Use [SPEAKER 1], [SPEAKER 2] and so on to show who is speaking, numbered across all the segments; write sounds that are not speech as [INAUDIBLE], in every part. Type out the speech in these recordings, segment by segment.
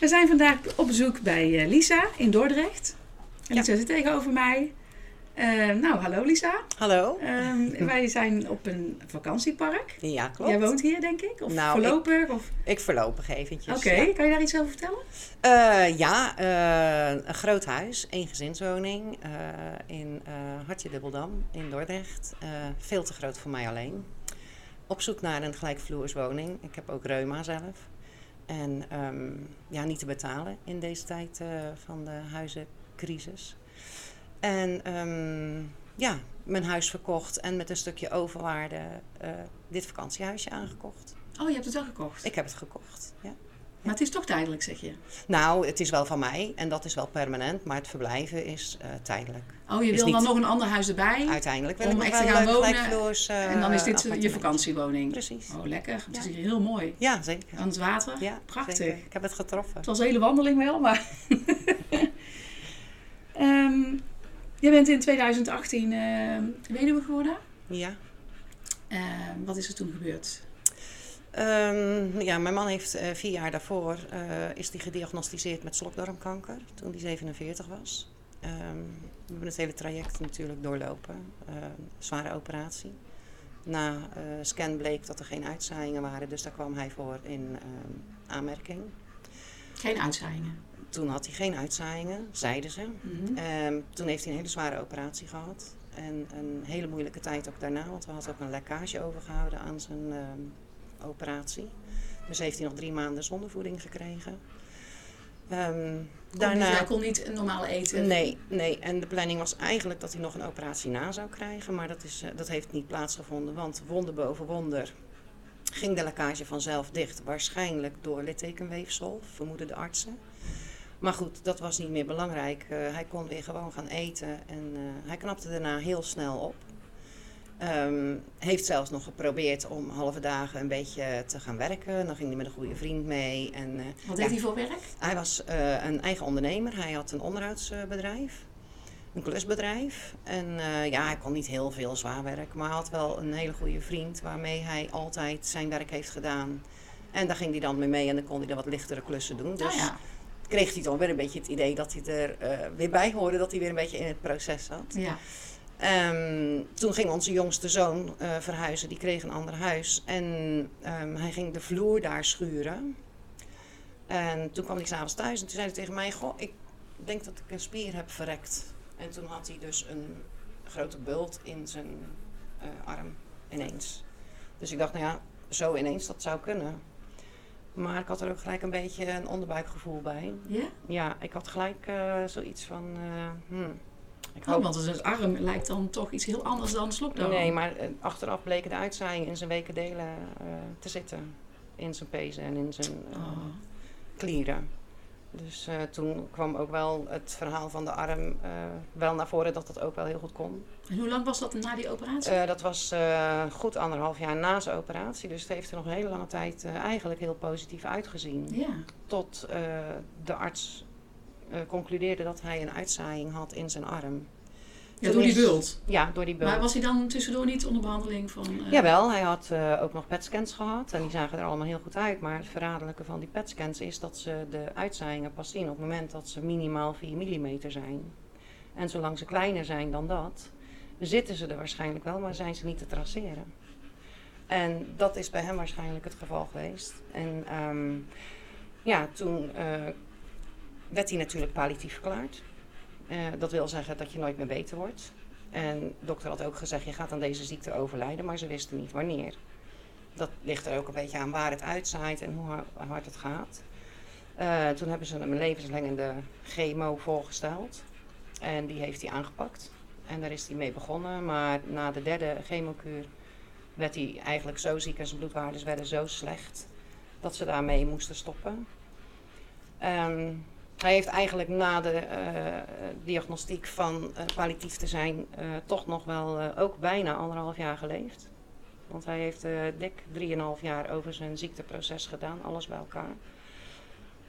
[SPEAKER 1] We zijn vandaag op bezoek bij eh, Lisa in Dordrecht. En
[SPEAKER 2] Ja.
[SPEAKER 1] Lisa zit tegenover mij. Eh, nou, hallo Lisa. [LAUGHS]
[SPEAKER 2] Hallo?
[SPEAKER 1] Ehm, wij zijn op een vakantiepark.
[SPEAKER 2] Ja, klopt.
[SPEAKER 1] Jij woont hier, denk ik? Of
[SPEAKER 2] Nou,
[SPEAKER 1] voorlopig? Of...
[SPEAKER 2] Ik voorlopig eventjes.
[SPEAKER 1] Oké,
[SPEAKER 2] Ja,
[SPEAKER 1] kan je daar iets over vertellen?
[SPEAKER 2] Eh, ja eh, een groot huis, één gezinswoning eh, in eh Hartje Dubbeldam in Dordrecht. Eh, veel te groot voor mij alleen. Op zoek naar een gelijkvloerswoning. Ik heb ook reuma zelf. En ehm, ja, niet te betalen in deze tijd eh, van de huizencrisis. En ehm, ja, mijn huis verkocht en met een stukje overwaarde eh, dit vakantiehuisje aangekocht.
[SPEAKER 1] Oh, je hebt het wel gekocht.
[SPEAKER 2] Ik heb het gekocht, ja.
[SPEAKER 1] Maar het is toch tijdelijk, zeg je?
[SPEAKER 2] Nou, het is wel van mij en dat is wel permanent, maar het verblijven is eh, tijdelijk.
[SPEAKER 1] Oh, je
[SPEAKER 2] Is
[SPEAKER 1] wil dan
[SPEAKER 2] niet-
[SPEAKER 1] nog een ander huis erbij.
[SPEAKER 2] Uiteindelijk wil
[SPEAKER 1] Om
[SPEAKER 2] ik nog
[SPEAKER 1] echt te
[SPEAKER 2] wel
[SPEAKER 1] gaan
[SPEAKER 2] leuk
[SPEAKER 1] wonen
[SPEAKER 2] gelijkvloers, eh,
[SPEAKER 1] en dan is dit je
[SPEAKER 2] appartement.
[SPEAKER 1] vakantiewoning.
[SPEAKER 2] Precies.
[SPEAKER 1] Oh, lekker. Het
[SPEAKER 2] Ja.
[SPEAKER 1] is hier heel mooi.
[SPEAKER 2] Ja, zeker.
[SPEAKER 1] Aan het water.
[SPEAKER 2] Ja,
[SPEAKER 1] Oh, Prachtig.
[SPEAKER 2] zeker. Ik heb het getroffen.
[SPEAKER 1] Het was een hele wandeling wel, maar... [LAUGHS] Ehm, jij bent in 2018 ehm, weduwe geworden.
[SPEAKER 2] Ja.
[SPEAKER 1] Ehm, wat is er toen gebeurd?
[SPEAKER 2] Ehm, ja, mijn man heeft eh, vier jaar daarvoor eh, is die gediagnosticeerd met slokdarmkanker toen hij 47 was. Ehm, we hebben het hele traject natuurlijk doorlopen. Eh, zware operatie. Na eh, scan bleek dat er geen uitzaaiingen waren, dus daar kwam hij voor in ehm, aanmerking.
[SPEAKER 1] Geen uitzaaiingen.
[SPEAKER 2] Toen had hij geen uitzaaiingen, zeiden ze.
[SPEAKER 1] Mhm.
[SPEAKER 2] Ehm, toen heeft hij een hele zware operatie gehad. En een hele moeilijke tijd ook daarna, want we hadden ook een lekkage overgehouden aan zijn ehm, operatie. Dus heeft hij nog drie maanden zonder voeding gekregen. Ehm,
[SPEAKER 1] Kon
[SPEAKER 2] daarna.
[SPEAKER 1] niet- hij kon niet normaal eten.
[SPEAKER 2] Nee, nee, en de planning was eigenlijk dat hij nog een operatie na zou krijgen, maar dat, is, eh, dat heeft niet plaatsgevonden, want wonder boven wonder ging de lekkage vanzelf dicht, waarschijnlijk door littekenweefsel, vermoeden de artsen. Maar goed, dat was niet meer belangrijk. Eh, hij kon weer gewoon gaan eten en eh, hij knapte daarna heel snel op. Ehm, heeft zelfs nog geprobeerd om halve dagen een beetje te gaan werken. Dan ging hij met een goede vriend mee. En, eh,
[SPEAKER 1] Wat
[SPEAKER 2] ja.
[SPEAKER 1] deed hij voor werk?
[SPEAKER 2] Hij was eh, een eigen ondernemer. Hij had een onderhoudsbedrijf, een klusbedrijf. En eh, ja, hij kon niet heel veel zwaar werk, maar hij had wel een hele goede vriend waarmee hij altijd zijn werk heeft gedaan. En daar ging hij dan mee mee en dan kon hij er wat lichtere klussen doen.
[SPEAKER 1] Nou
[SPEAKER 2] Dus
[SPEAKER 1] ja.
[SPEAKER 2] kreeg hij dan weer een beetje het idee dat hij er eh, weer bij hoorde, dat hij weer een beetje in het proces zat.
[SPEAKER 1] ja.
[SPEAKER 2] Ehm, toen ging onze jongste zoon eh, verhuizen, die kreeg een ander huis. En ehm, hij ging de vloer daar schuren. En toen kwam hij s'avonds thuis en toen zei hij tegen mij: Goh, ik denk dat ik een spier heb verrekt. En toen had hij dus een grote bult in zijn eh, arm ineens. Dus ik dacht, nou ja, zo ineens, dat zou kunnen. Maar ik had er ook gelijk een beetje een onderbuikgevoel bij.
[SPEAKER 1] Ja?
[SPEAKER 2] Ja, ik had gelijk eh, zoiets van. eh, hmm, ik
[SPEAKER 1] Oh, want een arm lijkt dan toch iets heel anders dan slokdarm.
[SPEAKER 2] Nee, maar eh, achteraf bleken de uitzaaiingen in zijn wekendelen eh, te zitten. In zijn pezen en in zijn eh,
[SPEAKER 1] Oh.
[SPEAKER 2] klieren. Dus eh, toen kwam ook wel het verhaal van de arm eh, wel naar voren dat dat ook wel heel goed kon.
[SPEAKER 1] En hoe lang was dat na die operatie?
[SPEAKER 2] Eh, dat was eh, goed anderhalf jaar na zijn operatie. Dus het heeft er nog een hele lange tijd eh, eigenlijk heel positief uitgezien.
[SPEAKER 1] ja.
[SPEAKER 2] Tot eh, de arts eh, concludeerde dat hij een uitzaaiing had in zijn arm.
[SPEAKER 1] ja,
[SPEAKER 2] Toen
[SPEAKER 1] door die
[SPEAKER 2] is-
[SPEAKER 1] bult.
[SPEAKER 2] Ja, door die bult.
[SPEAKER 1] Maar was hij dan tussendoor niet onder behandeling van... eh,
[SPEAKER 2] Jawel, hij had eh, ook nog PET-scans gehad en die zagen er allemaal heel goed uit. Maar het verraderlijke van die PET-scans is dat ze de uitzaaiingen pas zien op het moment dat ze minimaal 4 mm zijn. En zolang ze kleiner zijn dan dat, zitten ze er waarschijnlijk wel, maar zijn ze niet te traceren. En dat is bij hem waarschijnlijk het geval geweest. En ehm, ja, toen eh, werd hij natuurlijk palliatief verklaard. Eh, dat wil zeggen dat je nooit meer beter wordt. En de dokter had ook gezegd, je gaat aan deze ziekte overlijden, maar ze wisten niet wanneer. Dat ligt er ook een beetje aan waar het uitzaait en hoe har- hard het gaat. Eh, toen hebben ze hem een levensverlengende chemo voorgesteld. En die heeft hij aangepakt. En daar is hij mee begonnen. Maar na de derde chemokuur werd hij eigenlijk zo ziek en zijn bloedwaardes werden zo slecht dat ze daarmee moesten stoppen. Ehm, hij heeft eigenlijk na de eh, diagnostiek van eh palliatief te zijn eh, toch nog wel eh, ook bijna anderhalf jaar geleefd. Want hij heeft eh dik 3,5 jaar over zijn ziekteproces gedaan, alles bij elkaar.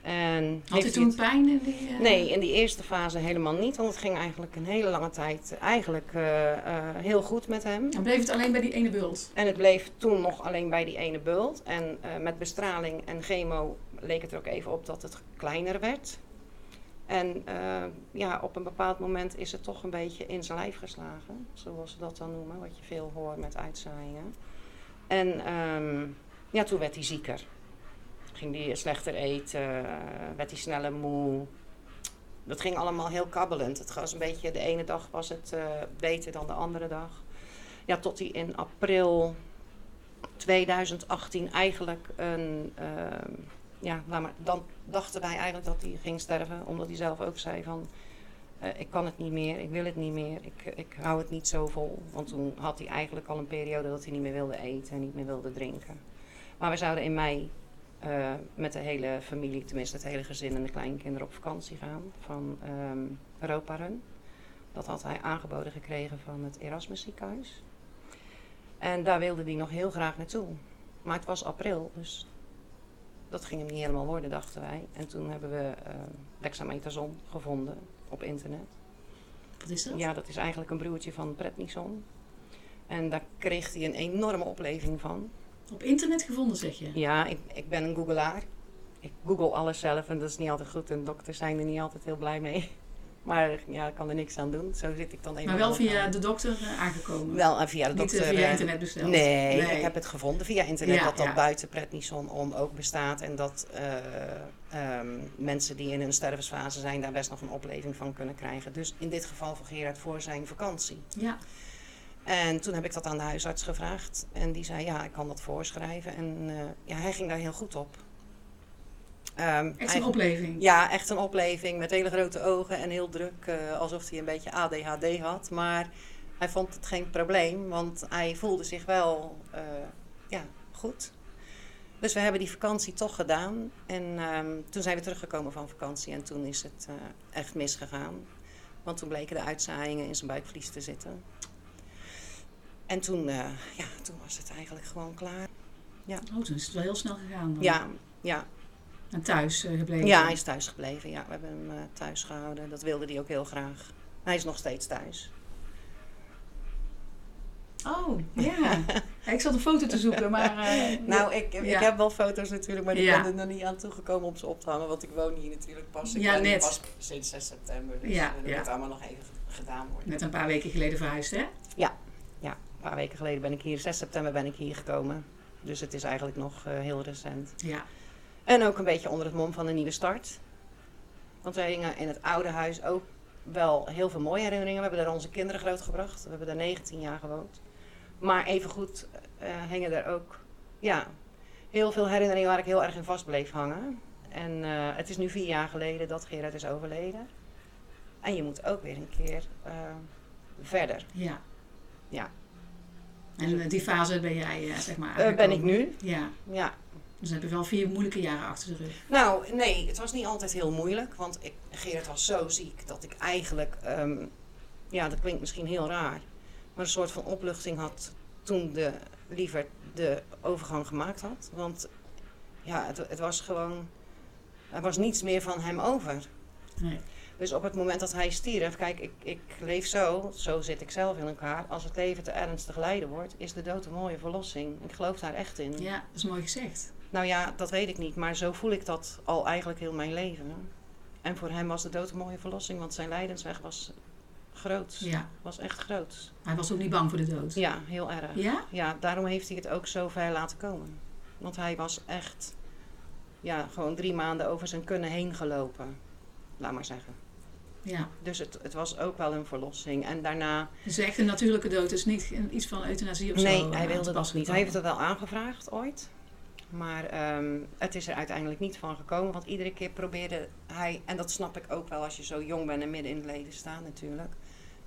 [SPEAKER 2] En
[SPEAKER 1] Had hij
[SPEAKER 2] heeft
[SPEAKER 1] toen
[SPEAKER 2] het-
[SPEAKER 1] pijn? In die, eh,
[SPEAKER 2] Nee, in die eerste fase helemaal niet, want het ging eigenlijk een hele lange tijd eigenlijk eh, eh, heel goed met hem.
[SPEAKER 1] Dan bleef het alleen bij die ene bult.
[SPEAKER 2] En het bleef toen nog alleen bij die ene bult. En eh, met bestraling en chemo leek het er ook even op dat het kleiner werd. En eh, ja, op een bepaald moment is het toch een beetje in zijn lijf geslagen, zoals ze dat dan noemen, wat je veel hoort met uitzaaiingen. En ehm, ja, toen werd hij zieker. Ging hij slechter eten, eh, werd hij sneller moe. Dat ging allemaal heel kabbelend. Het was een beetje, de ene dag was het eh, beter dan de andere dag. Ja, tot hij in april 2018 eigenlijk een. ehm, ja, laat maar, dan dachten wij eigenlijk dat hij ging sterven, omdat hij zelf ook zei van. eh, ik kan het niet meer, ik wil het niet meer, ik, ik hou het niet zo vol. Want toen had hij eigenlijk al een periode dat hij niet meer wilde eten en niet meer wilde drinken. Maar we zouden in mei eh, met de hele familie, tenminste het hele gezin en de kleinkinderen, op vakantie gaan van ehm Europa Run. Dat had hij aangeboden gekregen van het Erasmus ziekenhuis. En daar wilde hij nog heel graag naartoe. Maar het was april, dus dat ging hem niet helemaal worden, dachten wij. En toen hebben we eh dexamethason gevonden op internet.
[SPEAKER 1] Wat is dat?
[SPEAKER 2] Ja, dat is eigenlijk een broertje van prednison. En daar kreeg hij een enorme opleving van.
[SPEAKER 1] Op internet gevonden zeg je?
[SPEAKER 2] Ja, ik, ik ben een googelaar. Ik google alles zelf en dat is niet altijd goed. En dokters zijn er niet altijd heel blij mee. [LAUGHS] Maar ja, ik kan er niks aan doen. Zo zit ik dan eenmaal.
[SPEAKER 1] Maar wel
[SPEAKER 2] op-
[SPEAKER 1] via de dokter eh, aangekomen.
[SPEAKER 2] Wel, en via de
[SPEAKER 1] Niet eh,
[SPEAKER 2] dokter.
[SPEAKER 1] via
[SPEAKER 2] eh,
[SPEAKER 1] internet besteld.
[SPEAKER 2] Nee, ik heb het gevonden via internet
[SPEAKER 1] Ja,
[SPEAKER 2] dat dat
[SPEAKER 1] ja.
[SPEAKER 2] buiten prednison om ook bestaat. En dat eh, ehm, mensen die in hun stervensfase zijn daar best nog een opleving van kunnen krijgen. Dus in dit geval voor Gerard voor zijn vakantie.
[SPEAKER 1] Ja,
[SPEAKER 2] En toen heb ik dat aan de huisarts gevraagd. En die zei, ja, ik kan dat voorschrijven. En eh, ja, hij ging daar heel goed op. Ehm,
[SPEAKER 1] echt
[SPEAKER 2] hij-
[SPEAKER 1] een opleving.
[SPEAKER 2] ja, echt een opleving met hele grote ogen en heel druk, eh, alsof hij een beetje ADHD had. Maar hij vond het geen probleem, want hij voelde zich wel eh, ja, goed. Dus we hebben die vakantie toch gedaan. En ehm, toen zijn we teruggekomen van vakantie en toen is het eh, echt misgegaan. Want toen bleken de uitzaaiingen in zijn buikvlies te zitten. En toen, eh, ja, toen was het eigenlijk gewoon klaar.
[SPEAKER 1] Oh, toen is het wel heel snel gegaan. Dan.
[SPEAKER 2] Ja, ja,
[SPEAKER 1] En thuis eh, gebleven.
[SPEAKER 2] Ja, hij is thuis gebleven. Ja, we hebben hem eh, thuis gehouden. Dat wilde hij ook heel graag. Hij is nog steeds thuis.
[SPEAKER 1] Oh, ja.
[SPEAKER 2] [LAUGHS]
[SPEAKER 1] Ja, ik zat een foto te zoeken, maar... eh,
[SPEAKER 2] Nou, ik, ik
[SPEAKER 1] Ja.
[SPEAKER 2] heb wel foto's natuurlijk, maar ik
[SPEAKER 1] Ja.
[SPEAKER 2] ben er nog niet aan toegekomen om ze op te hangen. Want ik woon hier natuurlijk pas. Ik
[SPEAKER 1] Ja,
[SPEAKER 2] ben hier
[SPEAKER 1] net.
[SPEAKER 2] pas sinds 6 september. Dus
[SPEAKER 1] Ja,
[SPEAKER 2] eh, dat
[SPEAKER 1] ja.
[SPEAKER 2] moet allemaal nog even gedaan worden.
[SPEAKER 1] Net een paar weken geleden verhuisd, hè?
[SPEAKER 2] Ja, een paar weken geleden ben ik hier. 6 september ben ik hier gekomen. Dus het is eigenlijk nog eh, heel recent.
[SPEAKER 1] Ja.
[SPEAKER 2] En ook een beetje onder het mom van een nieuwe start. Want wij hingen in het oude huis ook wel heel veel mooie herinneringen. We hebben daar onze kinderen grootgebracht. We hebben daar 19 jaar gewoond. Maar evengoed eh hingen er ook ja, heel veel herinneringen waar ik heel erg in vast bleef hangen. En eh, het is nu vier jaar geleden dat Gerard is overleden. En je moet ook weer een keer eh, verder.
[SPEAKER 1] Ja.
[SPEAKER 2] Ja.
[SPEAKER 1] En eh, die fase ben jij, eh, zeg maar,
[SPEAKER 2] Eh, ben ik
[SPEAKER 1] aangekomen.
[SPEAKER 2] nu?
[SPEAKER 1] Ja.
[SPEAKER 2] Ja,
[SPEAKER 1] Dus dan heb je wel vier moeilijke jaren achter de rug.
[SPEAKER 2] Nou, nee, het was niet altijd heel moeilijk. Want ik, Gerard was zo ziek dat ik eigenlijk, ehm, ja, dat klinkt misschien heel raar, maar een soort van opluchting had toen de liever de overgang gemaakt had. Want ja, het, het was gewoon, er was niets meer van hem over.
[SPEAKER 1] Nee.
[SPEAKER 2] Dus op het moment dat hij stierf, kijk, ik, ik leef zo, zo zit ik zelf in elkaar. Als het leven te ernstig lijden wordt, is de dood een mooie verlossing. Ik geloof daar echt in.
[SPEAKER 1] Ja, dat is mooi gezegd.
[SPEAKER 2] Nou ja, dat weet ik niet, maar zo voel ik dat al eigenlijk heel mijn leven. En voor hem was de dood een mooie verlossing, want zijn lijdensweg was groot.
[SPEAKER 1] Ja.
[SPEAKER 2] Was echt groot.
[SPEAKER 1] Hij was ook niet bang voor de dood.
[SPEAKER 2] Ja, heel erg.
[SPEAKER 1] Ja?
[SPEAKER 2] Ja, daarom heeft hij het ook zo ver laten komen. Want hij was echt, ja, gewoon drie maanden over zijn kunnen heen gelopen. Laat maar zeggen.
[SPEAKER 1] Ja.
[SPEAKER 2] Dus het, het was ook wel een verlossing. En daarna
[SPEAKER 1] Dus echt een natuurlijke dood is niet een- iets van euthanasie of zo.
[SPEAKER 2] Nee,
[SPEAKER 1] eh,
[SPEAKER 2] hij
[SPEAKER 1] aan
[SPEAKER 2] wilde
[SPEAKER 1] te
[SPEAKER 2] dat
[SPEAKER 1] pas
[SPEAKER 2] niet. Hij
[SPEAKER 1] gekomen.
[SPEAKER 2] heeft het wel aangevraagd ooit. Maar ehm, het is er uiteindelijk niet van gekomen. Want iedere keer probeerde hij, en dat snap ik ook wel als je zo jong bent en midden in het leven staat natuurlijk.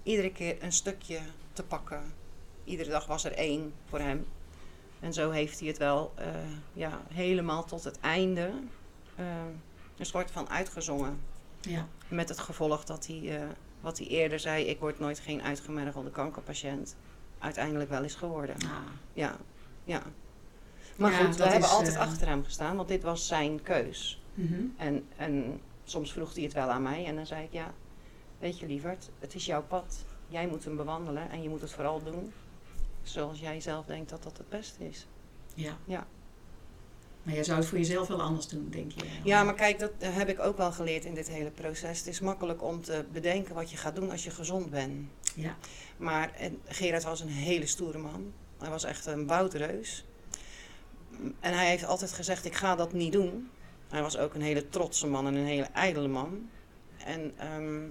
[SPEAKER 2] Iedere keer een stukje te pakken. Iedere dag was er één voor hem. En zo heeft hij het wel eh, ja, helemaal tot het einde eh, een soort van uitgezongen.
[SPEAKER 1] Ja.
[SPEAKER 2] Met het gevolg dat hij, eh, wat hij eerder zei, ik word nooit geen uitgemergelde kankerpatiënt, uiteindelijk wel is geworden.
[SPEAKER 1] Ah.
[SPEAKER 2] Ja, ja. Maar
[SPEAKER 1] Ja,
[SPEAKER 2] goed, we
[SPEAKER 1] dat
[SPEAKER 2] hebben
[SPEAKER 1] is,
[SPEAKER 2] altijd
[SPEAKER 1] eh,
[SPEAKER 2] achter hem gestaan, want dit was zijn keus.
[SPEAKER 1] Mhm.
[SPEAKER 2] En, en soms vroeg hij het wel aan mij en dan zei ik, ja, weet je lieverd, het is jouw pad. Jij moet hem bewandelen en je moet het vooral doen zoals jij zelf denkt dat dat het beste is.
[SPEAKER 1] Ja.
[SPEAKER 2] Ja.
[SPEAKER 1] Maar jij zou het voor jezelf wel anders doen, denk je?
[SPEAKER 2] Ja, maar kijk, dat eh, heb ik ook wel geleerd in dit hele proces. Het is makkelijk om te bedenken wat je gaat doen als je gezond bent.
[SPEAKER 1] Ja.
[SPEAKER 2] Maar eh, Gerard was een hele stoere man. Hij was echt een woudreus. M, En hij heeft altijd gezegd, ik ga dat niet doen. Hij was ook een hele trotse man en een hele ijdele man. En ehm,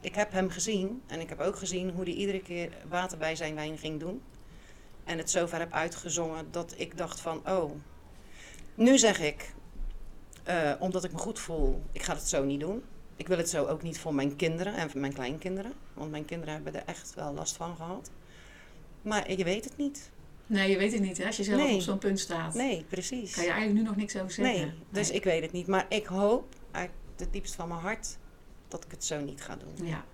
[SPEAKER 2] ik heb hem gezien. En ik heb ook gezien hoe hij iedere keer water bij zijn wijn ging doen. En het zover heb uitgezongen dat ik dacht van, oh... Nu zeg ik, eh, omdat ik me goed voel, ik ga het zo niet doen. Ik wil het zo ook niet voor mijn kinderen en voor mijn kleinkinderen. Want mijn kinderen hebben er echt wel last van gehad. Maar je weet het niet.
[SPEAKER 1] Nee, je weet het niet, hè? Als je zelf
[SPEAKER 2] Nee.
[SPEAKER 1] op zo'n punt staat,
[SPEAKER 2] Nee, precies.
[SPEAKER 1] kan je eigenlijk nu nog niks over zeggen.
[SPEAKER 2] Nee, dus ik weet het niet. Maar ik hoop uit het diepst van mijn hart dat ik het zo niet ga doen.
[SPEAKER 1] Ja,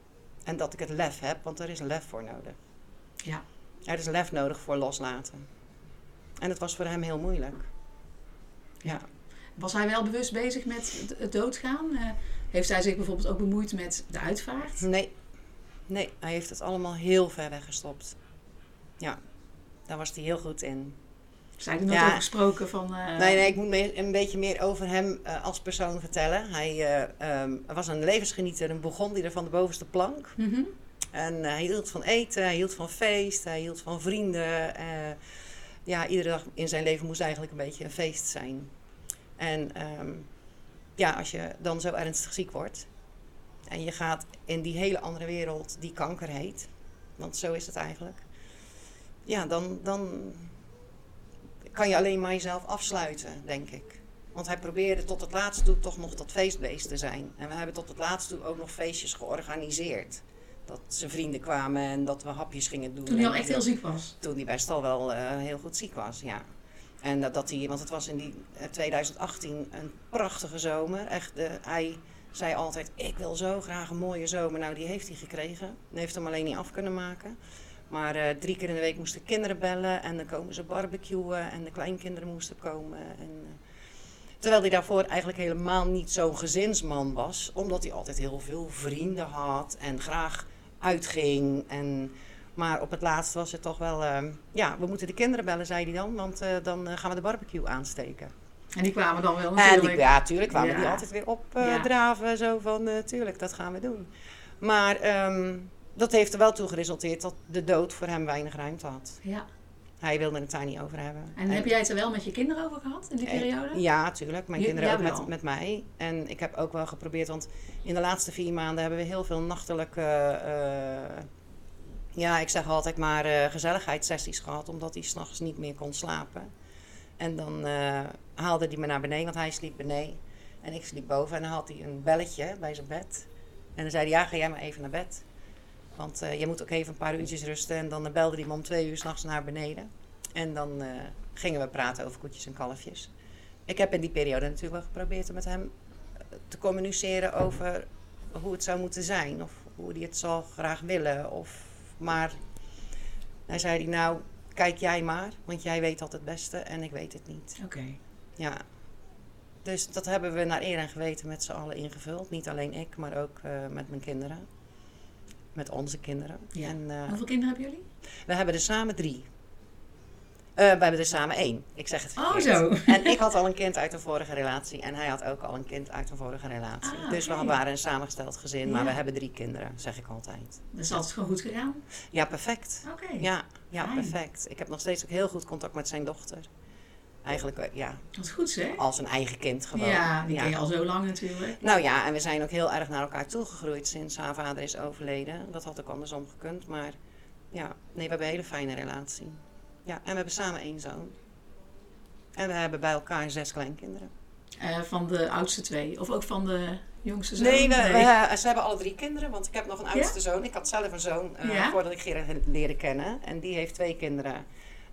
[SPEAKER 2] En dat ik het lef heb, want er is lef voor nodig.
[SPEAKER 1] Ja.
[SPEAKER 2] Er is lef nodig voor loslaten. En dat was voor hem heel moeilijk. Ja.
[SPEAKER 1] was hij wel bewust bezig met het- het doodgaan? Eh, heeft hij zich bijvoorbeeld ook bemoeid met de uitvaart?
[SPEAKER 2] Nee. Nee, hij heeft het allemaal heel ver weggestopt. Ja, daar was hij heel goed in.
[SPEAKER 1] Zijn er nooit
[SPEAKER 2] Ja.
[SPEAKER 1] over gesproken van... eh,
[SPEAKER 2] nee, nee, ik moet me een beetje meer over hem eh, als persoon vertellen. Hij eh, ehm, was een levensgenieter, een Bourgondier van de bovenste plank.
[SPEAKER 1] mhm.
[SPEAKER 2] En eh, hij hield van eten, hij hield van feest, hij hield van vrienden. eh, ja, iedere dag in zijn leven moest eigenlijk een beetje een feest zijn. En ehm, ja, als je dan zo ernstig ziek wordt en je gaat in die hele andere wereld die kanker heet, want zo is het eigenlijk. Ja, dan, dan kan je alleen maar jezelf afsluiten, denk ik. Want hij probeerde tot het laatst toe toch nog dat feestbeest te zijn. En we hebben tot het laatst toe ook nog feestjes georganiseerd dat zijn vrienden kwamen en dat we hapjes gingen doen.
[SPEAKER 1] Toen hij al
[SPEAKER 2] En
[SPEAKER 1] echt heel ziek was.
[SPEAKER 2] Toen hij best al wel eh, heel goed ziek was, ja. En dat, dat hij, want het was in die eh, 2018 een prachtige zomer. Echt, eh, hij zei altijd, ik wil zo graag een mooie zomer. Nou, die heeft hij gekregen. Hij heeft hem alleen niet af kunnen maken. Maar eh, drie keer in de week moesten kinderen bellen en dan komen ze barbecuen en de kleinkinderen moesten komen. En, eh, terwijl hij daarvoor eigenlijk helemaal niet zo'n gezinsman was, omdat hij altijd heel veel vrienden had en graag uitging. En, maar op het laatst was het toch wel, eh, ja, we moeten de kinderen bellen, zei hij dan, want eh, dan eh, gaan we de barbecue aansteken.
[SPEAKER 1] En die kwamen dan wel
[SPEAKER 2] En
[SPEAKER 1] Oh, natuurlijk.
[SPEAKER 2] die, ja, tuurlijk kwamen
[SPEAKER 1] Ja.
[SPEAKER 2] die altijd weer
[SPEAKER 1] Ja.
[SPEAKER 2] opdraven. draven Zo van, eh, tuurlijk, dat gaan we doen. Maar ehm, dat heeft er wel toe geresulteerd dat de dood voor hem weinig ruimte had.
[SPEAKER 1] Ja.
[SPEAKER 2] Hij wilde het daar niet over hebben.
[SPEAKER 1] En heb jij het er wel met je kinderen over gehad in die
[SPEAKER 2] en-
[SPEAKER 1] periode?
[SPEAKER 2] Ja, tuurlijk. Mijn
[SPEAKER 1] Je-
[SPEAKER 2] kinderen ook
[SPEAKER 1] jawel.
[SPEAKER 2] met, met mij. En ik heb ook wel geprobeerd, want in de laatste vier maanden hebben we heel veel nachtelijke... eh, ja, ik zeg altijd maar eh, gezelligheidssessies gehad, omdat hij s'nachts niet meer kon slapen. En dan eh, haalde hij me naar beneden, want hij sliep beneden. En ik sliep boven. En dan had hij een belletje bij zijn bed. En dan zei hij, ja, ga jij maar even naar bed. Want eh, je moet ook even een paar uurtjes rusten. En dan eh, belde hij me om twee uur s'nachts naar beneden. En dan eh, gingen we praten over koetjes en kalfjes. Ik heb in die periode natuurlijk wel geprobeerd om met hem eh, te communiceren over hoe het zou moeten zijn. Of hoe hij het zou graag willen. Of, maar hij zei hij, nou, kijk jij maar. Want jij weet altijd het beste en ik weet het niet.
[SPEAKER 1] Oké.
[SPEAKER 2] Ja. Dus dat hebben we naar eer en geweten met z'n allen ingevuld. Niet alleen ik, maar ook eh, met mijn kinderen. Met onze kinderen.
[SPEAKER 1] Ja.
[SPEAKER 2] En, eh,
[SPEAKER 1] Hoeveel kinderen hebben jullie?
[SPEAKER 2] we hebben er samen drie. Eh, we hebben er samen één. Ik zeg het
[SPEAKER 1] Oh,
[SPEAKER 2] verkeerd.
[SPEAKER 1] zo.
[SPEAKER 2] En ik had al een kind uit een vorige relatie. En hij had ook al een kind uit een vorige relatie.
[SPEAKER 1] Ah,
[SPEAKER 2] Dus
[SPEAKER 1] oké.
[SPEAKER 2] we waren een samengesteld gezin. Maar
[SPEAKER 1] Ja.
[SPEAKER 2] we hebben drie kinderen, zeg ik altijd.
[SPEAKER 1] Dus Dat is altijd gewoon goed gegaan.
[SPEAKER 2] Ja, perfect.
[SPEAKER 1] Oké.
[SPEAKER 2] Ja, ja
[SPEAKER 1] Fijn.
[SPEAKER 2] perfect. Ik heb nog steeds ook heel goed contact met zijn dochter. Eigenlijk, eh, ja,
[SPEAKER 1] Dat is goed zeg.
[SPEAKER 2] als een eigen kind gewoon.
[SPEAKER 1] Ja, die ken je al zo lang natuurlijk.
[SPEAKER 2] Nou ja, en we zijn ook heel erg naar elkaar toegegroeid sinds haar vader is overleden. Dat had ook andersom gekund, maar ja, nee, we hebben een hele fijne relatie. Ja, en we hebben samen één zoon. En we hebben bij elkaar zes kleinkinderen.
[SPEAKER 1] Eh, van de oudste twee. Of ook van de jongste zoon.
[SPEAKER 2] Nee, we, we- eh, ze hebben alle drie kinderen, want ik heb nog een oudste zoon. Ik had zelf een zoon eh,
[SPEAKER 1] Ja?
[SPEAKER 2] voordat ik Gerrit leerde kennen. En die heeft twee kinderen.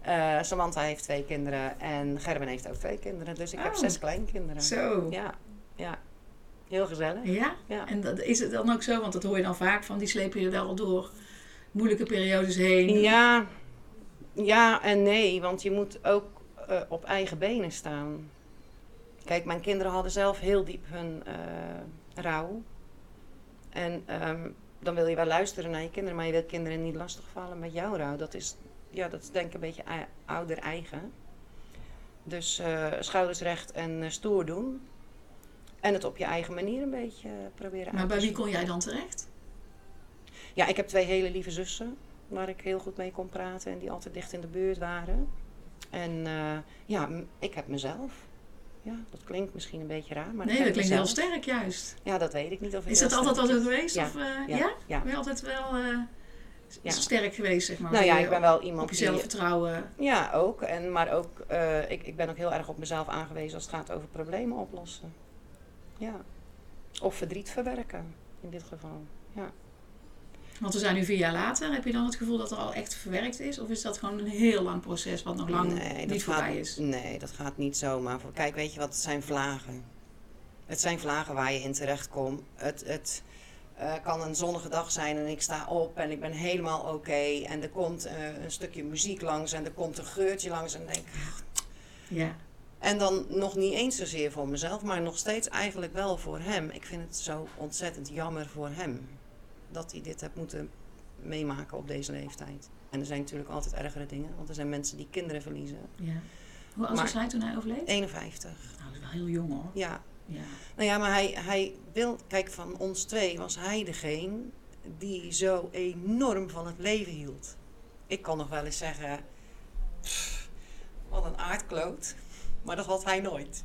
[SPEAKER 2] Eh, Samantha heeft twee kinderen en Gerben heeft ook twee kinderen. Dus ik heb
[SPEAKER 1] Oh.
[SPEAKER 2] zes kleinkinderen.
[SPEAKER 1] Zo.
[SPEAKER 2] Ja, ja. Heel gezellig.
[SPEAKER 1] Ja?
[SPEAKER 2] Ja.
[SPEAKER 1] En dat, is het dan ook zo? Want dat hoor je dan vaak van die slepen je wel door moeilijke periodes heen.
[SPEAKER 2] Ja, ja en nee, want je moet ook eh, op eigen benen staan. Kijk, mijn kinderen hadden zelf heel diep hun eh, rouw. En ehm, dan wil je wel luisteren naar je kinderen, maar je wilt kinderen niet lastigvallen met jouw rouw. Dat is, ja, dat is denk ik een beetje ei- ouder eigen. Dus eh, schouders recht en eh, stoer doen. En het op je eigen manier een beetje eh, proberen
[SPEAKER 1] Maar
[SPEAKER 2] uit
[SPEAKER 1] bij
[SPEAKER 2] te
[SPEAKER 1] wie
[SPEAKER 2] zoeken.
[SPEAKER 1] kon jij dan terecht?
[SPEAKER 2] Ja, ik heb twee hele lieve zussen waar ik heel goed mee kon praten en die altijd dicht in de buurt waren. En eh, ja, m- ik heb mezelf. Ja, dat klinkt misschien een beetje raar, maar
[SPEAKER 1] nee,
[SPEAKER 2] ik
[SPEAKER 1] dat
[SPEAKER 2] heb
[SPEAKER 1] klinkt heel
[SPEAKER 2] mezelf.
[SPEAKER 1] sterk juist.
[SPEAKER 2] Ja, dat weet ik niet of ik
[SPEAKER 1] Is
[SPEAKER 2] heel
[SPEAKER 1] dat altijd al
[SPEAKER 2] sterk
[SPEAKER 1] zo
[SPEAKER 2] is.
[SPEAKER 1] geweest?
[SPEAKER 2] Ja,
[SPEAKER 1] Of, eh,
[SPEAKER 2] ja,
[SPEAKER 1] ja?
[SPEAKER 2] ja.
[SPEAKER 1] Ben je altijd wel eh, s-
[SPEAKER 2] Ja.
[SPEAKER 1] sterk geweest, zeg maar?
[SPEAKER 2] Nou ja,
[SPEAKER 1] Wil je
[SPEAKER 2] ik ben
[SPEAKER 1] op-
[SPEAKER 2] wel iemand
[SPEAKER 1] Op jezelf
[SPEAKER 2] die
[SPEAKER 1] vertrouwen.
[SPEAKER 2] Ja, ook. En, maar ook, eh, ik, ik ben ook heel erg op mezelf aangewezen als het gaat over problemen oplossen. Ja. Of verdriet verwerken, in dit geval.
[SPEAKER 1] Want we zijn nu vier jaar later. Heb je dan het gevoel dat er al echt verwerkt is? Of is dat gewoon een heel lang proces wat nog lang niet
[SPEAKER 2] gaat,
[SPEAKER 1] voorbij is?
[SPEAKER 2] Nee, dat gaat niet zomaar. Voor. Kijk, weet je wat, het zijn vlagen. Het zijn vlagen waar je in terecht komt. Het, het eh, kan een zonnige dag zijn en ik sta op en ik ben helemaal oké. En er komt eh, een stukje muziek langs en er komt een geurtje langs en dan denk ik,
[SPEAKER 1] Ja.
[SPEAKER 2] En dan nog niet eens zozeer voor mezelf, maar nog steeds eigenlijk wel voor hem. Ik vind het zo ontzettend jammer voor hem dat hij dit heeft moeten meemaken op deze leeftijd. En er zijn natuurlijk altijd ergere dingen, want er zijn mensen die kinderen verliezen.
[SPEAKER 1] ja. Hoe oud
[SPEAKER 2] Maar-
[SPEAKER 1] was hij toen hij overleed?
[SPEAKER 2] 51.
[SPEAKER 1] Nou, dat is wel heel jong hoor.
[SPEAKER 2] Ja,
[SPEAKER 1] Ja.
[SPEAKER 2] nou ja, maar hij, hij wil, kijk, van ons twee was hij degene die zo enorm van het leven hield. Ik kan nog wel eens zeggen, "Pff, wat een aardkloot, maar dat had hij nooit.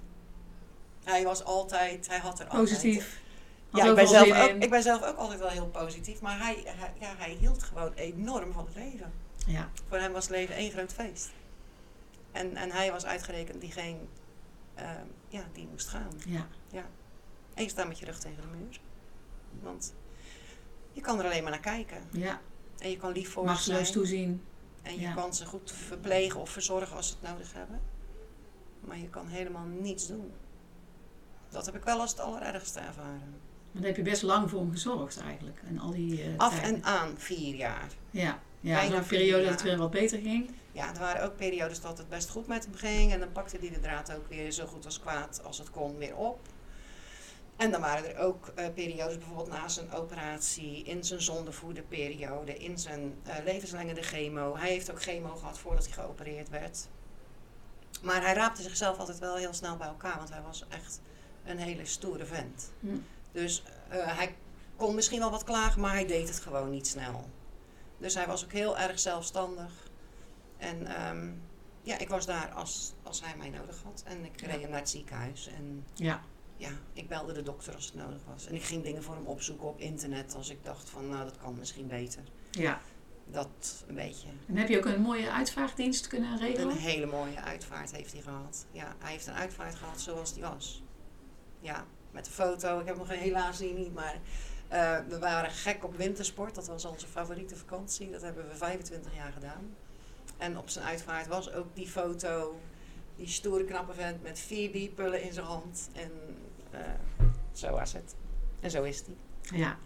[SPEAKER 2] Hij was altijd, hij had er altijd.
[SPEAKER 1] Positief. Had
[SPEAKER 2] Ja, ik ben,
[SPEAKER 1] overal
[SPEAKER 2] zelf
[SPEAKER 1] zin
[SPEAKER 2] ook,
[SPEAKER 1] in.
[SPEAKER 2] ik ben zelf ook altijd wel heel positief, maar hij, hij, ja, hij hield gewoon enorm van het leven.
[SPEAKER 1] Ja.
[SPEAKER 2] Voor hem was het leven één groot feest. En, en hij was uitgerekend diegene eh, ja, die moest gaan.
[SPEAKER 1] ja.
[SPEAKER 2] En je staat met je rug tegen de muur. Want je kan er alleen maar naar kijken.
[SPEAKER 1] Ja.
[SPEAKER 2] En je kan lief voor ze zijn.
[SPEAKER 1] Machteloos toezien.
[SPEAKER 2] En je
[SPEAKER 1] ja.
[SPEAKER 2] kan ze goed verplegen of verzorgen als ze het nodig hebben. Maar je kan helemaal niets doen. Dat heb ik wel als het allerergste ervaren.
[SPEAKER 1] Maar daar heb je best lang voor hem gezorgd eigenlijk. En al die eh,
[SPEAKER 2] Af
[SPEAKER 1] tijden.
[SPEAKER 2] en aan vier jaar.
[SPEAKER 1] Ja. Ja,
[SPEAKER 2] Bijna
[SPEAKER 1] zo'n
[SPEAKER 2] vier
[SPEAKER 1] periode dat
[SPEAKER 2] jaar.
[SPEAKER 1] het weer wat beter ging.
[SPEAKER 2] Ja, er waren ook periodes dat het best goed met hem ging. En dan pakte hij de draad ook weer zo goed als kwaad als het kon weer op. En dan waren er ook eh, periodes, bijvoorbeeld na zijn operatie, in zijn zondevoederperiode, in zijn eh, levenslengende chemo. Hij heeft ook chemo gehad voordat hij geopereerd werd. Maar hij raapte zichzelf altijd wel heel snel bij elkaar, want hij was echt een hele stoere vent.
[SPEAKER 1] Hm.
[SPEAKER 2] Dus eh, hij kon misschien wel wat klagen, maar hij deed het gewoon niet snel. Dus hij was ook heel erg zelfstandig. En ehm, ja, ik was daar als, als hij mij nodig had. En ik
[SPEAKER 1] Ja.
[SPEAKER 2] reed hem naar het ziekenhuis. En
[SPEAKER 1] Ja.
[SPEAKER 2] ja, ik belde de dokter als het nodig was. En ik ging dingen voor hem opzoeken op internet als ik dacht van, nou, dat kan misschien beter.
[SPEAKER 1] Ja.
[SPEAKER 2] Dat een beetje.
[SPEAKER 1] En heb je ook een mooie uitvaartdienst kunnen
[SPEAKER 2] Een
[SPEAKER 1] regelen?
[SPEAKER 2] hele mooie uitvaart heeft hij gehad. Ja, hij heeft een uitvaart gehad zoals die was. Ja, met de foto. Ik heb hem helaas hier niet, maar eh, we waren gek op wintersport. Dat was onze favoriete vakantie. Dat hebben we 25 jaar gedaan. En op zijn uitvaart was ook die foto. Die stoere knappe vent met vier bierpullen in zijn hand. En eh, zo was het. En zo is hij.
[SPEAKER 1] Ja.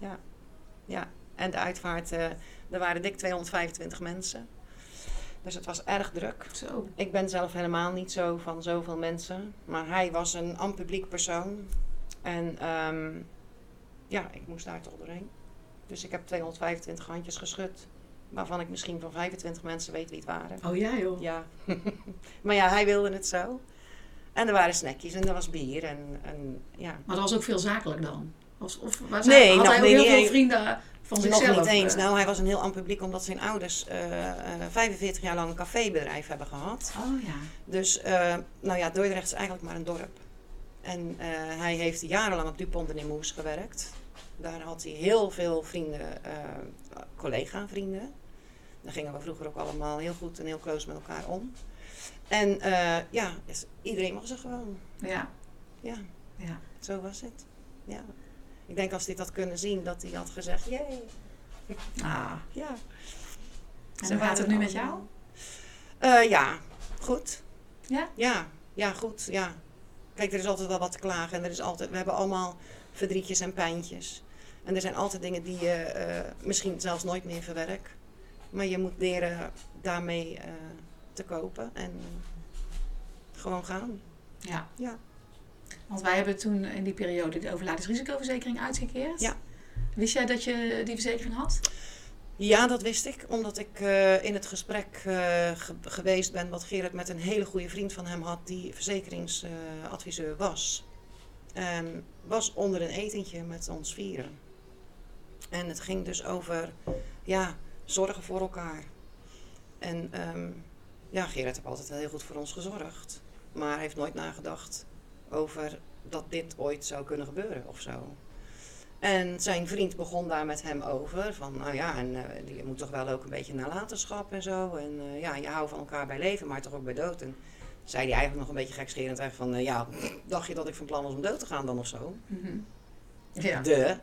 [SPEAKER 2] En de uitvaart, eh, er waren dik 225 mensen. Dus het was erg druk.
[SPEAKER 1] Zo.
[SPEAKER 2] Ik ben zelf helemaal niet zo van zoveel mensen. Maar hij was een ampubliek persoon. En ehm, ja, ik moest daar toch doorheen. Dus ik heb 225 handjes geschud. Waarvan ik misschien van 25 mensen weet wie het waren.
[SPEAKER 1] Oh ja joh.
[SPEAKER 2] Ja. [LAUGHS] maar ja, hij wilde het zo. En er waren snackjes en er was bier. En, en ja,
[SPEAKER 1] Maar dat was ook veel zakelijk dan? Of, of was
[SPEAKER 2] Nee,
[SPEAKER 1] hij, had
[SPEAKER 2] nog
[SPEAKER 1] hij ook
[SPEAKER 2] niet
[SPEAKER 1] heel veel
[SPEAKER 2] eens.
[SPEAKER 1] vrienden eh, van
[SPEAKER 2] nog
[SPEAKER 1] zichzelf?
[SPEAKER 2] niet eens.
[SPEAKER 1] eh?
[SPEAKER 2] Nou, hij was een heel ampubliek omdat zijn ouders eh, eh, 45 jaar lang een cafébedrijf hebben gehad.
[SPEAKER 1] Oh ja.
[SPEAKER 2] Dus, eh, nou ja, Dordrecht is eigenlijk maar een dorp. En eh, hij heeft jarenlang op Dupont de Nemours gewerkt. Daar had hij heel veel vrienden, eh collega-vrienden. Daar gingen we vroeger ook allemaal heel goed en heel close met elkaar om. En eh, ja, is- iedereen was er gewoon.
[SPEAKER 1] Ja.
[SPEAKER 2] Ja,
[SPEAKER 1] Ja.
[SPEAKER 2] zo was het. Ja. Ik denk als hij dat had kunnen zien, dat hij had gezegd, jee,
[SPEAKER 1] Ah.
[SPEAKER 2] ja.
[SPEAKER 1] En
[SPEAKER 2] Ze
[SPEAKER 1] hoe gaat
[SPEAKER 2] waren
[SPEAKER 1] het nu
[SPEAKER 2] er
[SPEAKER 1] met jou?
[SPEAKER 2] allemaal. Eh, ja, goed.
[SPEAKER 1] Ja?
[SPEAKER 2] Ja, ja, goed, ja. Kijk, er is altijd wel wat te klagen. En er is altijd, we hebben allemaal verdrietjes en pijntjes. En er zijn altijd dingen die je eh, misschien zelfs nooit meer verwerkt. Maar je moet leren daarmee eh, te kopen en gewoon gaan.
[SPEAKER 1] Ja.
[SPEAKER 2] Ja.
[SPEAKER 1] Want wij hebben toen in die periode de overlijdensrisicoverzekering uitgekeerd.
[SPEAKER 2] Ja.
[SPEAKER 1] Wist jij dat je die verzekering had?
[SPEAKER 2] Ja, dat wist ik, omdat ik eh, in het gesprek eh, ge- geweest ben wat Gerard met een hele goede vriend van hem had, die verzekeringsadviseur was. En was onder een etentje met ons vieren. En het ging dus over, ja, zorgen voor elkaar. En ehm, ja, Gerard heeft altijd wel heel goed voor ons gezorgd. Maar hij heeft nooit nagedacht over dat dit ooit zou kunnen gebeuren of zo. En zijn vriend begon daar met hem over. Van nou ja, en eh, je moet toch wel ook een beetje nalatenschap en zo. En eh, ja, je houdt van elkaar bij leven, maar toch ook bij dood. En zei hij eigenlijk nog een beetje gekscherend eigenlijk van... eh, ja, dacht je dat ik van plan was om dood te gaan dan of zo?
[SPEAKER 1] Mhm. Ja.
[SPEAKER 2] De.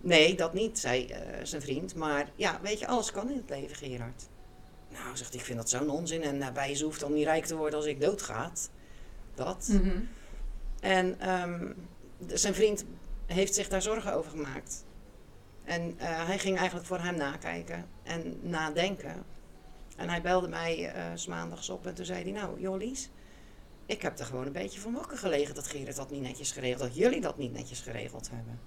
[SPEAKER 2] Nee, dat niet, zei eh, zijn vriend. Maar ja, weet je, alles kan in het leven, Gerard. Nou, zegt hij, ik vind dat zo'n onzin. En daarbij ze hoeft dan niet rijk te worden als ik doodgaat. Dat.
[SPEAKER 1] Mhm.
[SPEAKER 2] En ehm, de- zijn vriend heeft zich daar zorgen over gemaakt. En eh, hij ging eigenlijk voor hem nakijken en nadenken. En hij belde mij eh, s maandags op en toen zei hij... Nou, Jolies, ik heb er gewoon een beetje van wakker gelegen... dat Gerrit dat niet netjes geregeld dat jullie dat niet netjes geregeld hebben.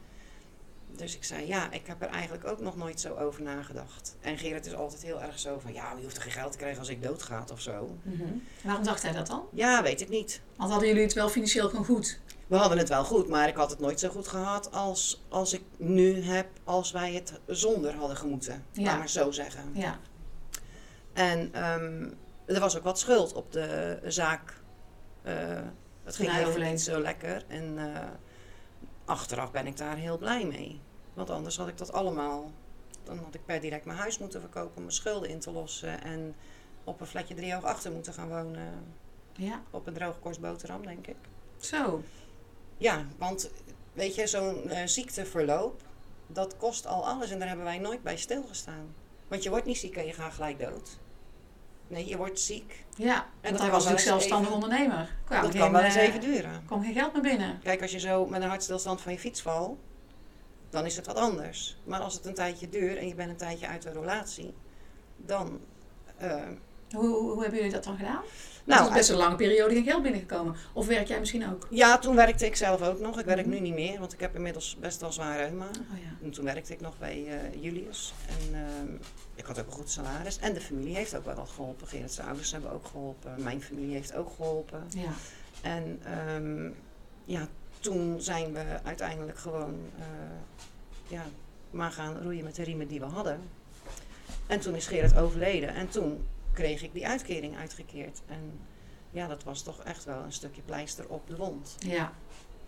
[SPEAKER 2] Dus ik zei, ja, ik heb er eigenlijk ook nog nooit zo over nagedacht. En Gerrit is altijd heel erg zo van... ja, je hoeft er geen geld te krijgen als ik doodgaat of zo.
[SPEAKER 1] Mhm. Waarom dacht hij dat dan?
[SPEAKER 2] Ja, weet ik niet.
[SPEAKER 1] Want hadden jullie het wel financieel gewoon goed?
[SPEAKER 2] We hadden het wel goed, maar ik had het nooit zo goed gehad als, als ik nu heb, als wij het zonder hadden gemoeten.
[SPEAKER 1] Ja.
[SPEAKER 2] Laat maar zo zeggen.
[SPEAKER 1] Ja.
[SPEAKER 2] En ehm, er was ook wat schuld op de zaak. Eh, het ging
[SPEAKER 1] Hij
[SPEAKER 2] eigenlijk
[SPEAKER 1] overleed.
[SPEAKER 2] niet zo lekker. En eh, achteraf ben ik daar heel blij mee. Want anders had ik dat allemaal... Dan had ik per direct mijn huis moeten verkopen om mijn schulden in te lossen. En op een flatje driehoog achter moeten gaan wonen.
[SPEAKER 1] Ja.
[SPEAKER 2] Op een droge korst boterham, denk ik.
[SPEAKER 1] Zo.
[SPEAKER 2] Ja, want weet je, zo'n eh, ziekteverloop, dat kost al alles en daar hebben wij nooit bij stilgestaan. Want je wordt niet ziek en je gaat gelijk dood. Nee, je wordt ziek.
[SPEAKER 1] Ja.
[SPEAKER 2] dat
[SPEAKER 1] Want
[SPEAKER 2] kan
[SPEAKER 1] hij
[SPEAKER 2] wel
[SPEAKER 1] was natuurlijk
[SPEAKER 2] eens
[SPEAKER 1] zelfstandig
[SPEAKER 2] even-
[SPEAKER 1] ondernemer. Kwam
[SPEAKER 2] dat
[SPEAKER 1] geen,
[SPEAKER 2] kan wel eens
[SPEAKER 1] eh,
[SPEAKER 2] even duren.
[SPEAKER 1] kwam geen geld meer binnen.
[SPEAKER 2] Kijk, als je zo met een hartstilstand van je fiets valt, dan is het wat anders. Maar als het een tijdje duurt en je bent een tijdje uit de relatie, dan. eh,
[SPEAKER 1] Hoe, hoe, hoe hebben jullie dat dan gedaan? Nou, het
[SPEAKER 2] nou,
[SPEAKER 1] is best een lange periode geen geld binnengekomen. Of werk jij misschien ook?
[SPEAKER 2] ja, toen werkte ik zelf ook nog. Ik werk
[SPEAKER 1] Mhm.
[SPEAKER 2] nu niet meer, want ik heb inmiddels best wel zwaar reuma.
[SPEAKER 1] Oh ja.
[SPEAKER 2] En toen werkte ik nog bij eh, Julius. En ehm, ik had ook een goed salaris. En de familie heeft ook wel wat geholpen. Gerrit's ouders hebben ook geholpen. Mijn familie heeft ook geholpen.
[SPEAKER 1] Ja.
[SPEAKER 2] En ehm, ja, toen zijn we uiteindelijk gewoon eh, ja, maar gaan roeien met de riemen die we hadden. En toen is Gerrit overleden. En toen kreeg ik die uitkering uitgekeerd. En ja, dat was toch echt wel een stukje pleister op de wond.
[SPEAKER 1] Ja.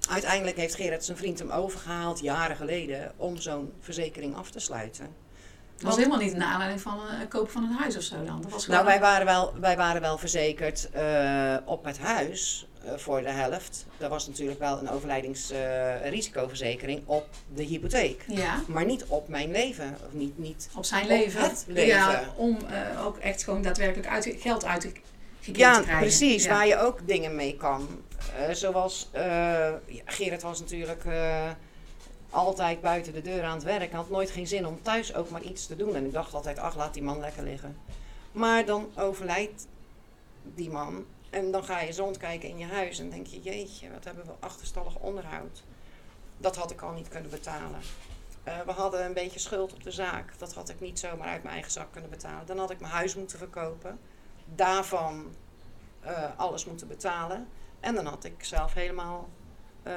[SPEAKER 2] Uiteindelijk heeft Gerrit zijn vriend hem overgehaald, jaren geleden, om zo'n verzekering af te sluiten.
[SPEAKER 1] Dat was helemaal niet naar aanleiding van eh, het kopen van een huis of zo dan. Dat was gewoon...
[SPEAKER 2] Nou, wij waren wel, wij waren wel verzekerd eh, op het huis eh, voor de helft. Er was natuurlijk wel een overlijdingsrisicoverzekering op de hypotheek.
[SPEAKER 1] Ja.
[SPEAKER 2] Maar niet op mijn leven. Of niet, niet.
[SPEAKER 1] Op zijn
[SPEAKER 2] Op
[SPEAKER 1] leven.
[SPEAKER 2] het leven.
[SPEAKER 1] Ja, om eh, ook echt gewoon daadwerkelijk uit, geld uit te gekeerd te
[SPEAKER 2] Ja,
[SPEAKER 1] krijgen.
[SPEAKER 2] precies.
[SPEAKER 1] Ja.
[SPEAKER 2] Waar je ook dingen mee kan. Eh, zoals eh, ja, Gerrit was natuurlijk eh, altijd buiten de deur aan het werk. Hij had nooit geen zin om thuis ook maar iets te doen. En ik dacht altijd, ach, laat die man lekker liggen. Maar dan overlijdt die man. En dan ga je eens rondkijken in je huis. En denk je, jeetje, wat hebben we achterstallig onderhoud. Dat had ik al niet kunnen betalen. Eh, we hadden een beetje schuld op de zaak. Dat had ik niet zomaar uit mijn eigen zak kunnen betalen. Dan had ik mijn huis moeten verkopen. Daarvan eh, alles moeten betalen. En dan had ik zelf helemaal eh,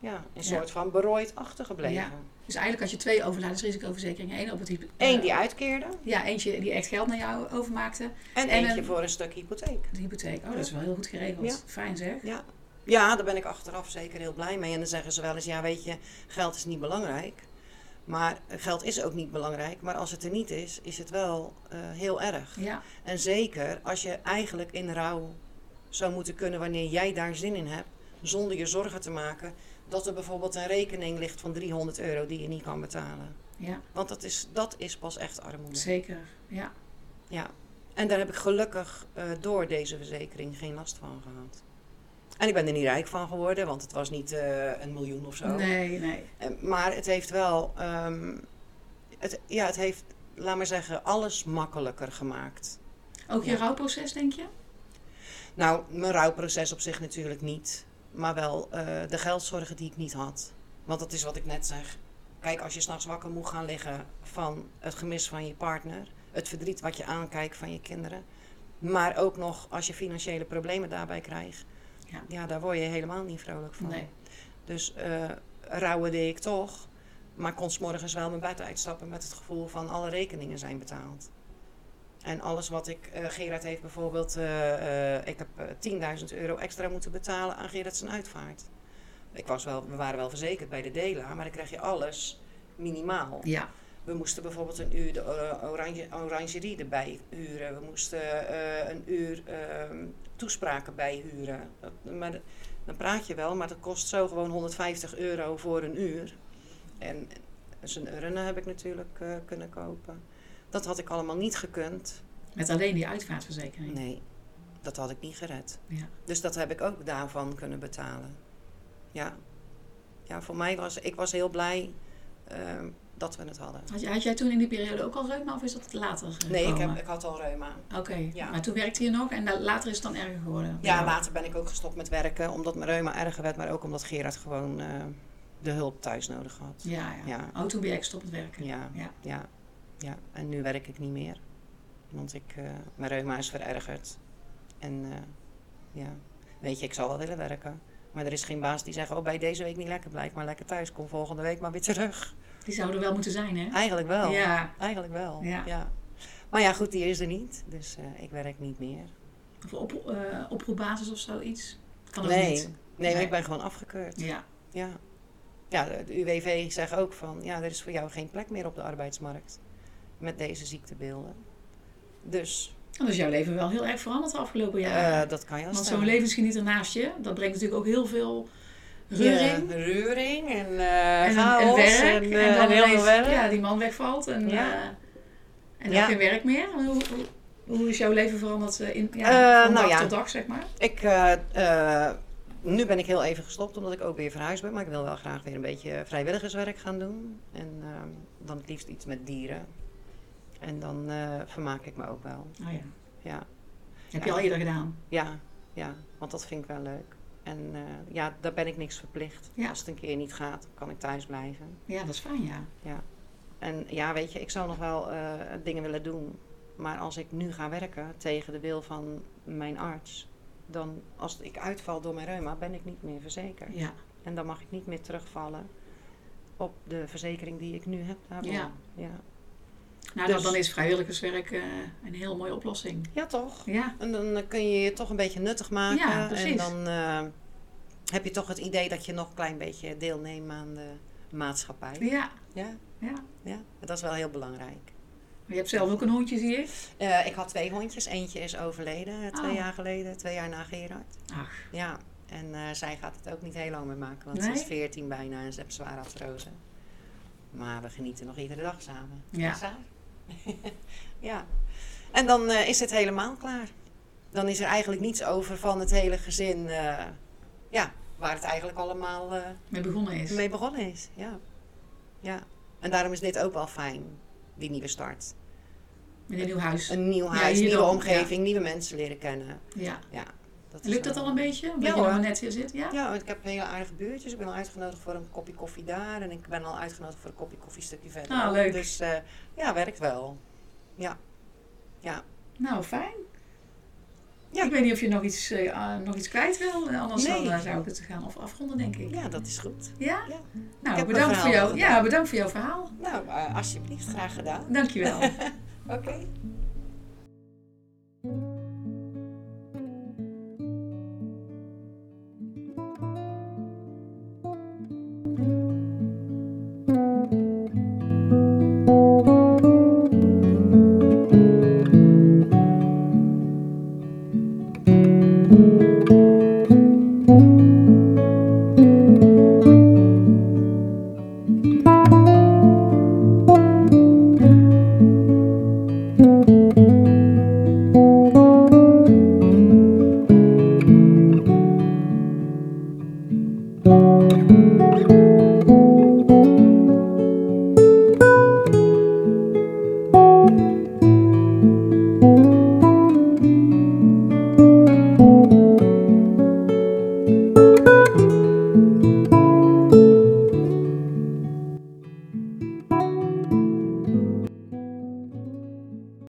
[SPEAKER 2] ja, een
[SPEAKER 1] Ja.
[SPEAKER 2] soort van berooid achtergebleven.
[SPEAKER 1] Ja. Dus eigenlijk had je twee overlijdensrisicoverzekeringen. Eén op het hypo-
[SPEAKER 2] Eén
[SPEAKER 1] eh,
[SPEAKER 2] die uitkeerde
[SPEAKER 1] Ja, eentje die echt geld naar jou overmaakte. En
[SPEAKER 2] en, eentje
[SPEAKER 1] een-
[SPEAKER 2] voor een stuk hypotheek.
[SPEAKER 1] De hypotheek. Oh, dat is wel heel goed geregeld.
[SPEAKER 2] Ja.
[SPEAKER 1] Fijn zeg.
[SPEAKER 2] Ja. ja, daar ben ik achteraf zeker heel blij mee. En dan zeggen ze wel eens, ja weet je, geld is niet belangrijk. Maar eh, geld is ook niet belangrijk. Maar als het er niet is, is het wel eh, heel erg.
[SPEAKER 1] Ja.
[SPEAKER 2] En zeker als je eigenlijk in rouw zou moeten kunnen wanneer jij daar zin in hebt. Zonder je zorgen te maken dat er bijvoorbeeld een rekening ligt van 300 euro die je niet kan betalen.
[SPEAKER 1] Ja.
[SPEAKER 2] Want dat is, dat is pas echt armoede.
[SPEAKER 1] Zeker. Ja.
[SPEAKER 2] Ja, en daar heb ik gelukkig eh, door deze verzekering geen last van gehad. En ik ben er niet rijk van geworden, want het was niet eh, een miljoen of zo.
[SPEAKER 1] Nee, nee.
[SPEAKER 2] Eh, maar het heeft wel, ehm, het, ja, het heeft, laat maar zeggen, alles makkelijker gemaakt.
[SPEAKER 1] Ook je
[SPEAKER 2] Ja.
[SPEAKER 1] rouwproces, denk je?
[SPEAKER 2] Nou, mijn rouwproces op zich natuurlijk niet, maar wel eh, de geldzorgen die ik niet had. Want dat is wat ik net zeg. Kijk, als je s'nachts wakker moet gaan liggen van het gemis van je partner, het verdriet wat je aankijkt van je kinderen, maar ook nog als je financiële problemen daarbij krijgt, ja,
[SPEAKER 1] Ja.
[SPEAKER 2] daar word je helemaal niet vrolijk van.
[SPEAKER 1] Nee.
[SPEAKER 2] Dus eh rouwen deed ik toch, maar kon 's morgens wel mijn bed uitstappen met het gevoel van alle rekeningen zijn betaald. En alles wat ik, eh, Gerard heeft bijvoorbeeld, eh, eh, ik heb eh, 10.000 euro extra moeten betalen aan Gerard zijn uitvaart. Ik was wel, we waren wel verzekerd bij de Dela, maar dan krijg je alles minimaal.
[SPEAKER 1] Ja.
[SPEAKER 2] We moesten bijvoorbeeld een uur de eh, oranje, orangerie erbij huren. We moesten eh, een uur ehm, toespraken bijhuren. Dat- Maar de- dan praat je wel, maar dat kost zo gewoon 150 euro voor een uur. En zijn urnen heb ik natuurlijk eh, kunnen kopen. Dat had ik allemaal niet gekund.
[SPEAKER 1] Met alleen die uitvaartverzekering.
[SPEAKER 2] Nee, dat had ik niet gered.
[SPEAKER 1] Ja.
[SPEAKER 2] Dus dat heb ik ook daarvan kunnen betalen. Ja, ja voor mij was ik was heel blij ehm, dat we het hadden.
[SPEAKER 1] Had, jij- had jij toen in die periode ook al reuma of is dat later gekomen?
[SPEAKER 2] Nee, ik, heb, ik had al reuma.
[SPEAKER 1] Oké,
[SPEAKER 2] Ja.
[SPEAKER 1] maar toen werkte je nog en da- later is het dan erger geworden?
[SPEAKER 2] Ja, later ben ik ook gestopt met werken, omdat mijn reuma erger werd, maar ook omdat Gerard gewoon eh, de hulp thuis nodig had.
[SPEAKER 1] Ja, ja.
[SPEAKER 2] Ja.
[SPEAKER 1] Oh, toen ben je echt gestopt met werken?
[SPEAKER 2] Ja,
[SPEAKER 1] Ja.
[SPEAKER 2] ja, ja. En nu werk ik niet meer, want ik, eh, mijn reuma is verergerd. En eh, ja, weet je, ik zal wel willen werken. Maar er is geen baas die zegt, oh, bij deze week niet lekker, blijf maar lekker thuis. Kom volgende week maar weer terug.
[SPEAKER 1] Die zou er wel moeten zijn, hè?
[SPEAKER 2] Eigenlijk Ah, wel.
[SPEAKER 1] Ja.
[SPEAKER 2] Eigenlijk wel, ja.
[SPEAKER 1] Ja.
[SPEAKER 2] Maar ja, goed, die is er niet. Dus eh, ik werk niet meer.
[SPEAKER 1] Of op, eh, oproepbasis of zoiets? Kan ook
[SPEAKER 2] nee.
[SPEAKER 1] niet.
[SPEAKER 2] nee,
[SPEAKER 1] Nee.
[SPEAKER 2] ik ben gewoon afgekeurd.
[SPEAKER 1] Ja.
[SPEAKER 2] Ja. Ja, de de UWV zegt ook van, ja, er is voor jou geen plek meer op de arbeidsmarkt met deze ziektebeelden. Dus
[SPEAKER 1] Dan is jouw leven wel heel erg veranderd de afgelopen jaren.
[SPEAKER 2] eh, dat kan je als
[SPEAKER 1] Want zo'n levensgenieter naast je, dat brengt natuurlijk ook heel veel reuring.
[SPEAKER 2] reuring en eh
[SPEAKER 1] en een, en
[SPEAKER 2] chaos
[SPEAKER 1] werk.
[SPEAKER 2] en,
[SPEAKER 1] En,
[SPEAKER 2] eh,
[SPEAKER 1] dan
[SPEAKER 2] en heel veel
[SPEAKER 1] ineens,
[SPEAKER 2] werk.
[SPEAKER 1] Ja, die man wegvalt en,
[SPEAKER 2] Ja.
[SPEAKER 1] eh, en
[SPEAKER 2] Ja.
[SPEAKER 1] dan geen werk meer. Hoe, hoe, hoe is jouw leven veranderd eh, in, ja,
[SPEAKER 2] Eh,
[SPEAKER 1] van
[SPEAKER 2] nou
[SPEAKER 1] dag
[SPEAKER 2] ja.
[SPEAKER 1] tot dag, zeg maar?
[SPEAKER 2] Ik, eh, eh, nu ben ik heel even gestopt omdat ik ook weer verhuisd ben. Maar ik wil wel graag weer een beetje vrijwilligerswerk gaan doen. En ehm, dan het liefst iets met dieren. En dan eh, vermaak ik me ook wel.
[SPEAKER 1] Oh, ja.
[SPEAKER 2] Ja.
[SPEAKER 1] Heb
[SPEAKER 2] Ja.
[SPEAKER 1] je al eerder gedaan?
[SPEAKER 2] Ja, ja, want dat vind ik wel leuk. En eh, ja, daar ben ik niks verplicht.
[SPEAKER 1] Ja.
[SPEAKER 2] Als het een keer niet gaat, kan ik thuis blijven.
[SPEAKER 1] Ja, dat is fijn, ja.
[SPEAKER 2] En ja, weet je, ik zou nog wel eh, dingen willen doen. Maar als ik nu ga werken tegen de wil van mijn arts, dan als ik uitval door mijn reuma, ben ik niet meer verzekerd.
[SPEAKER 1] Ja,
[SPEAKER 2] En dan mag ik niet meer terugvallen op de verzekering die ik nu heb daarvoor.
[SPEAKER 1] Ja.
[SPEAKER 2] ja.
[SPEAKER 1] nou,
[SPEAKER 2] Dus-
[SPEAKER 1] dan- dan is vrijwilligerswerk eh, een heel mooie oplossing.
[SPEAKER 2] Ja, toch?
[SPEAKER 1] Ja,
[SPEAKER 2] En dan eh, kun je je toch een beetje nuttig maken.
[SPEAKER 1] Ja, precies.
[SPEAKER 2] En dan eh, heb je toch het idee dat je nog een klein beetje deelneemt aan de maatschappij.
[SPEAKER 1] ja,
[SPEAKER 2] Ja,
[SPEAKER 1] ja.
[SPEAKER 2] ja. dat is wel heel belangrijk.
[SPEAKER 1] Maar je hebt zelf ook een hondje, zie ik.
[SPEAKER 2] Eh, ik had twee hondjes. Eentje is overleden eh, twee
[SPEAKER 1] Oh.
[SPEAKER 2] jaar geleden, twee jaar na Gerard.
[SPEAKER 1] Ach,
[SPEAKER 2] Ja, en eh, zij gaat het ook niet heel lang meer maken, want ze
[SPEAKER 1] Nee?
[SPEAKER 2] is veertien bijna en ze heeft zware artrose. Maar we genieten nog iedere dag samen. [LAUGHS]
[SPEAKER 1] ja.
[SPEAKER 2] Saai. ja. En dan eh, is het helemaal klaar. Dan is er eigenlijk niets over van het hele gezin. eh, ja, waar het eigenlijk allemaal eh,
[SPEAKER 1] mee begonnen is.
[SPEAKER 2] mee begonnen is. Ja. ja. En daarom is dit ook wel fijn. Die nieuwe start.
[SPEAKER 1] Met een nieuw huis.
[SPEAKER 2] Een nieuw
[SPEAKER 1] Ja,
[SPEAKER 2] huis,
[SPEAKER 1] hier
[SPEAKER 2] nieuwe
[SPEAKER 1] dan,
[SPEAKER 2] omgeving, nieuwe mensen leren kennen.
[SPEAKER 1] Ja.
[SPEAKER 2] Ja, dat is
[SPEAKER 1] Lukt dat
[SPEAKER 2] wel-
[SPEAKER 1] al een beetje? Omdat
[SPEAKER 2] Ja,
[SPEAKER 1] je nog
[SPEAKER 2] hoor.
[SPEAKER 1] maar net hier zit, ja?
[SPEAKER 2] Ja, want ik heb hele aardige buurtjes. Ik ben al uitgenodigd voor een kopje koffie daar. En ik ben al uitgenodigd voor een kopje koffie stukje verder.
[SPEAKER 1] Ah, leuk.
[SPEAKER 2] Dus eh, ja, werkt wel.
[SPEAKER 1] Nou, fijn.
[SPEAKER 2] Ja.
[SPEAKER 1] Ik weet niet of je nog iets, eh, ah, nog iets kwijt wil. eh, Anders dan,
[SPEAKER 2] Nee.
[SPEAKER 1] eh, zou ik het gaan of afronden, denk ik.
[SPEAKER 2] Ja, dat is goed.
[SPEAKER 1] Ja?
[SPEAKER 2] Ja.
[SPEAKER 1] Nou,
[SPEAKER 2] mijn
[SPEAKER 1] bedankt voor,
[SPEAKER 2] verhaal
[SPEAKER 1] jou,
[SPEAKER 2] al
[SPEAKER 1] ja, bedankt voor jouw verhaal.
[SPEAKER 2] Nou, eh, alsjeblieft, graag gedaan.
[SPEAKER 1] Dankjewel.
[SPEAKER 2] Oké.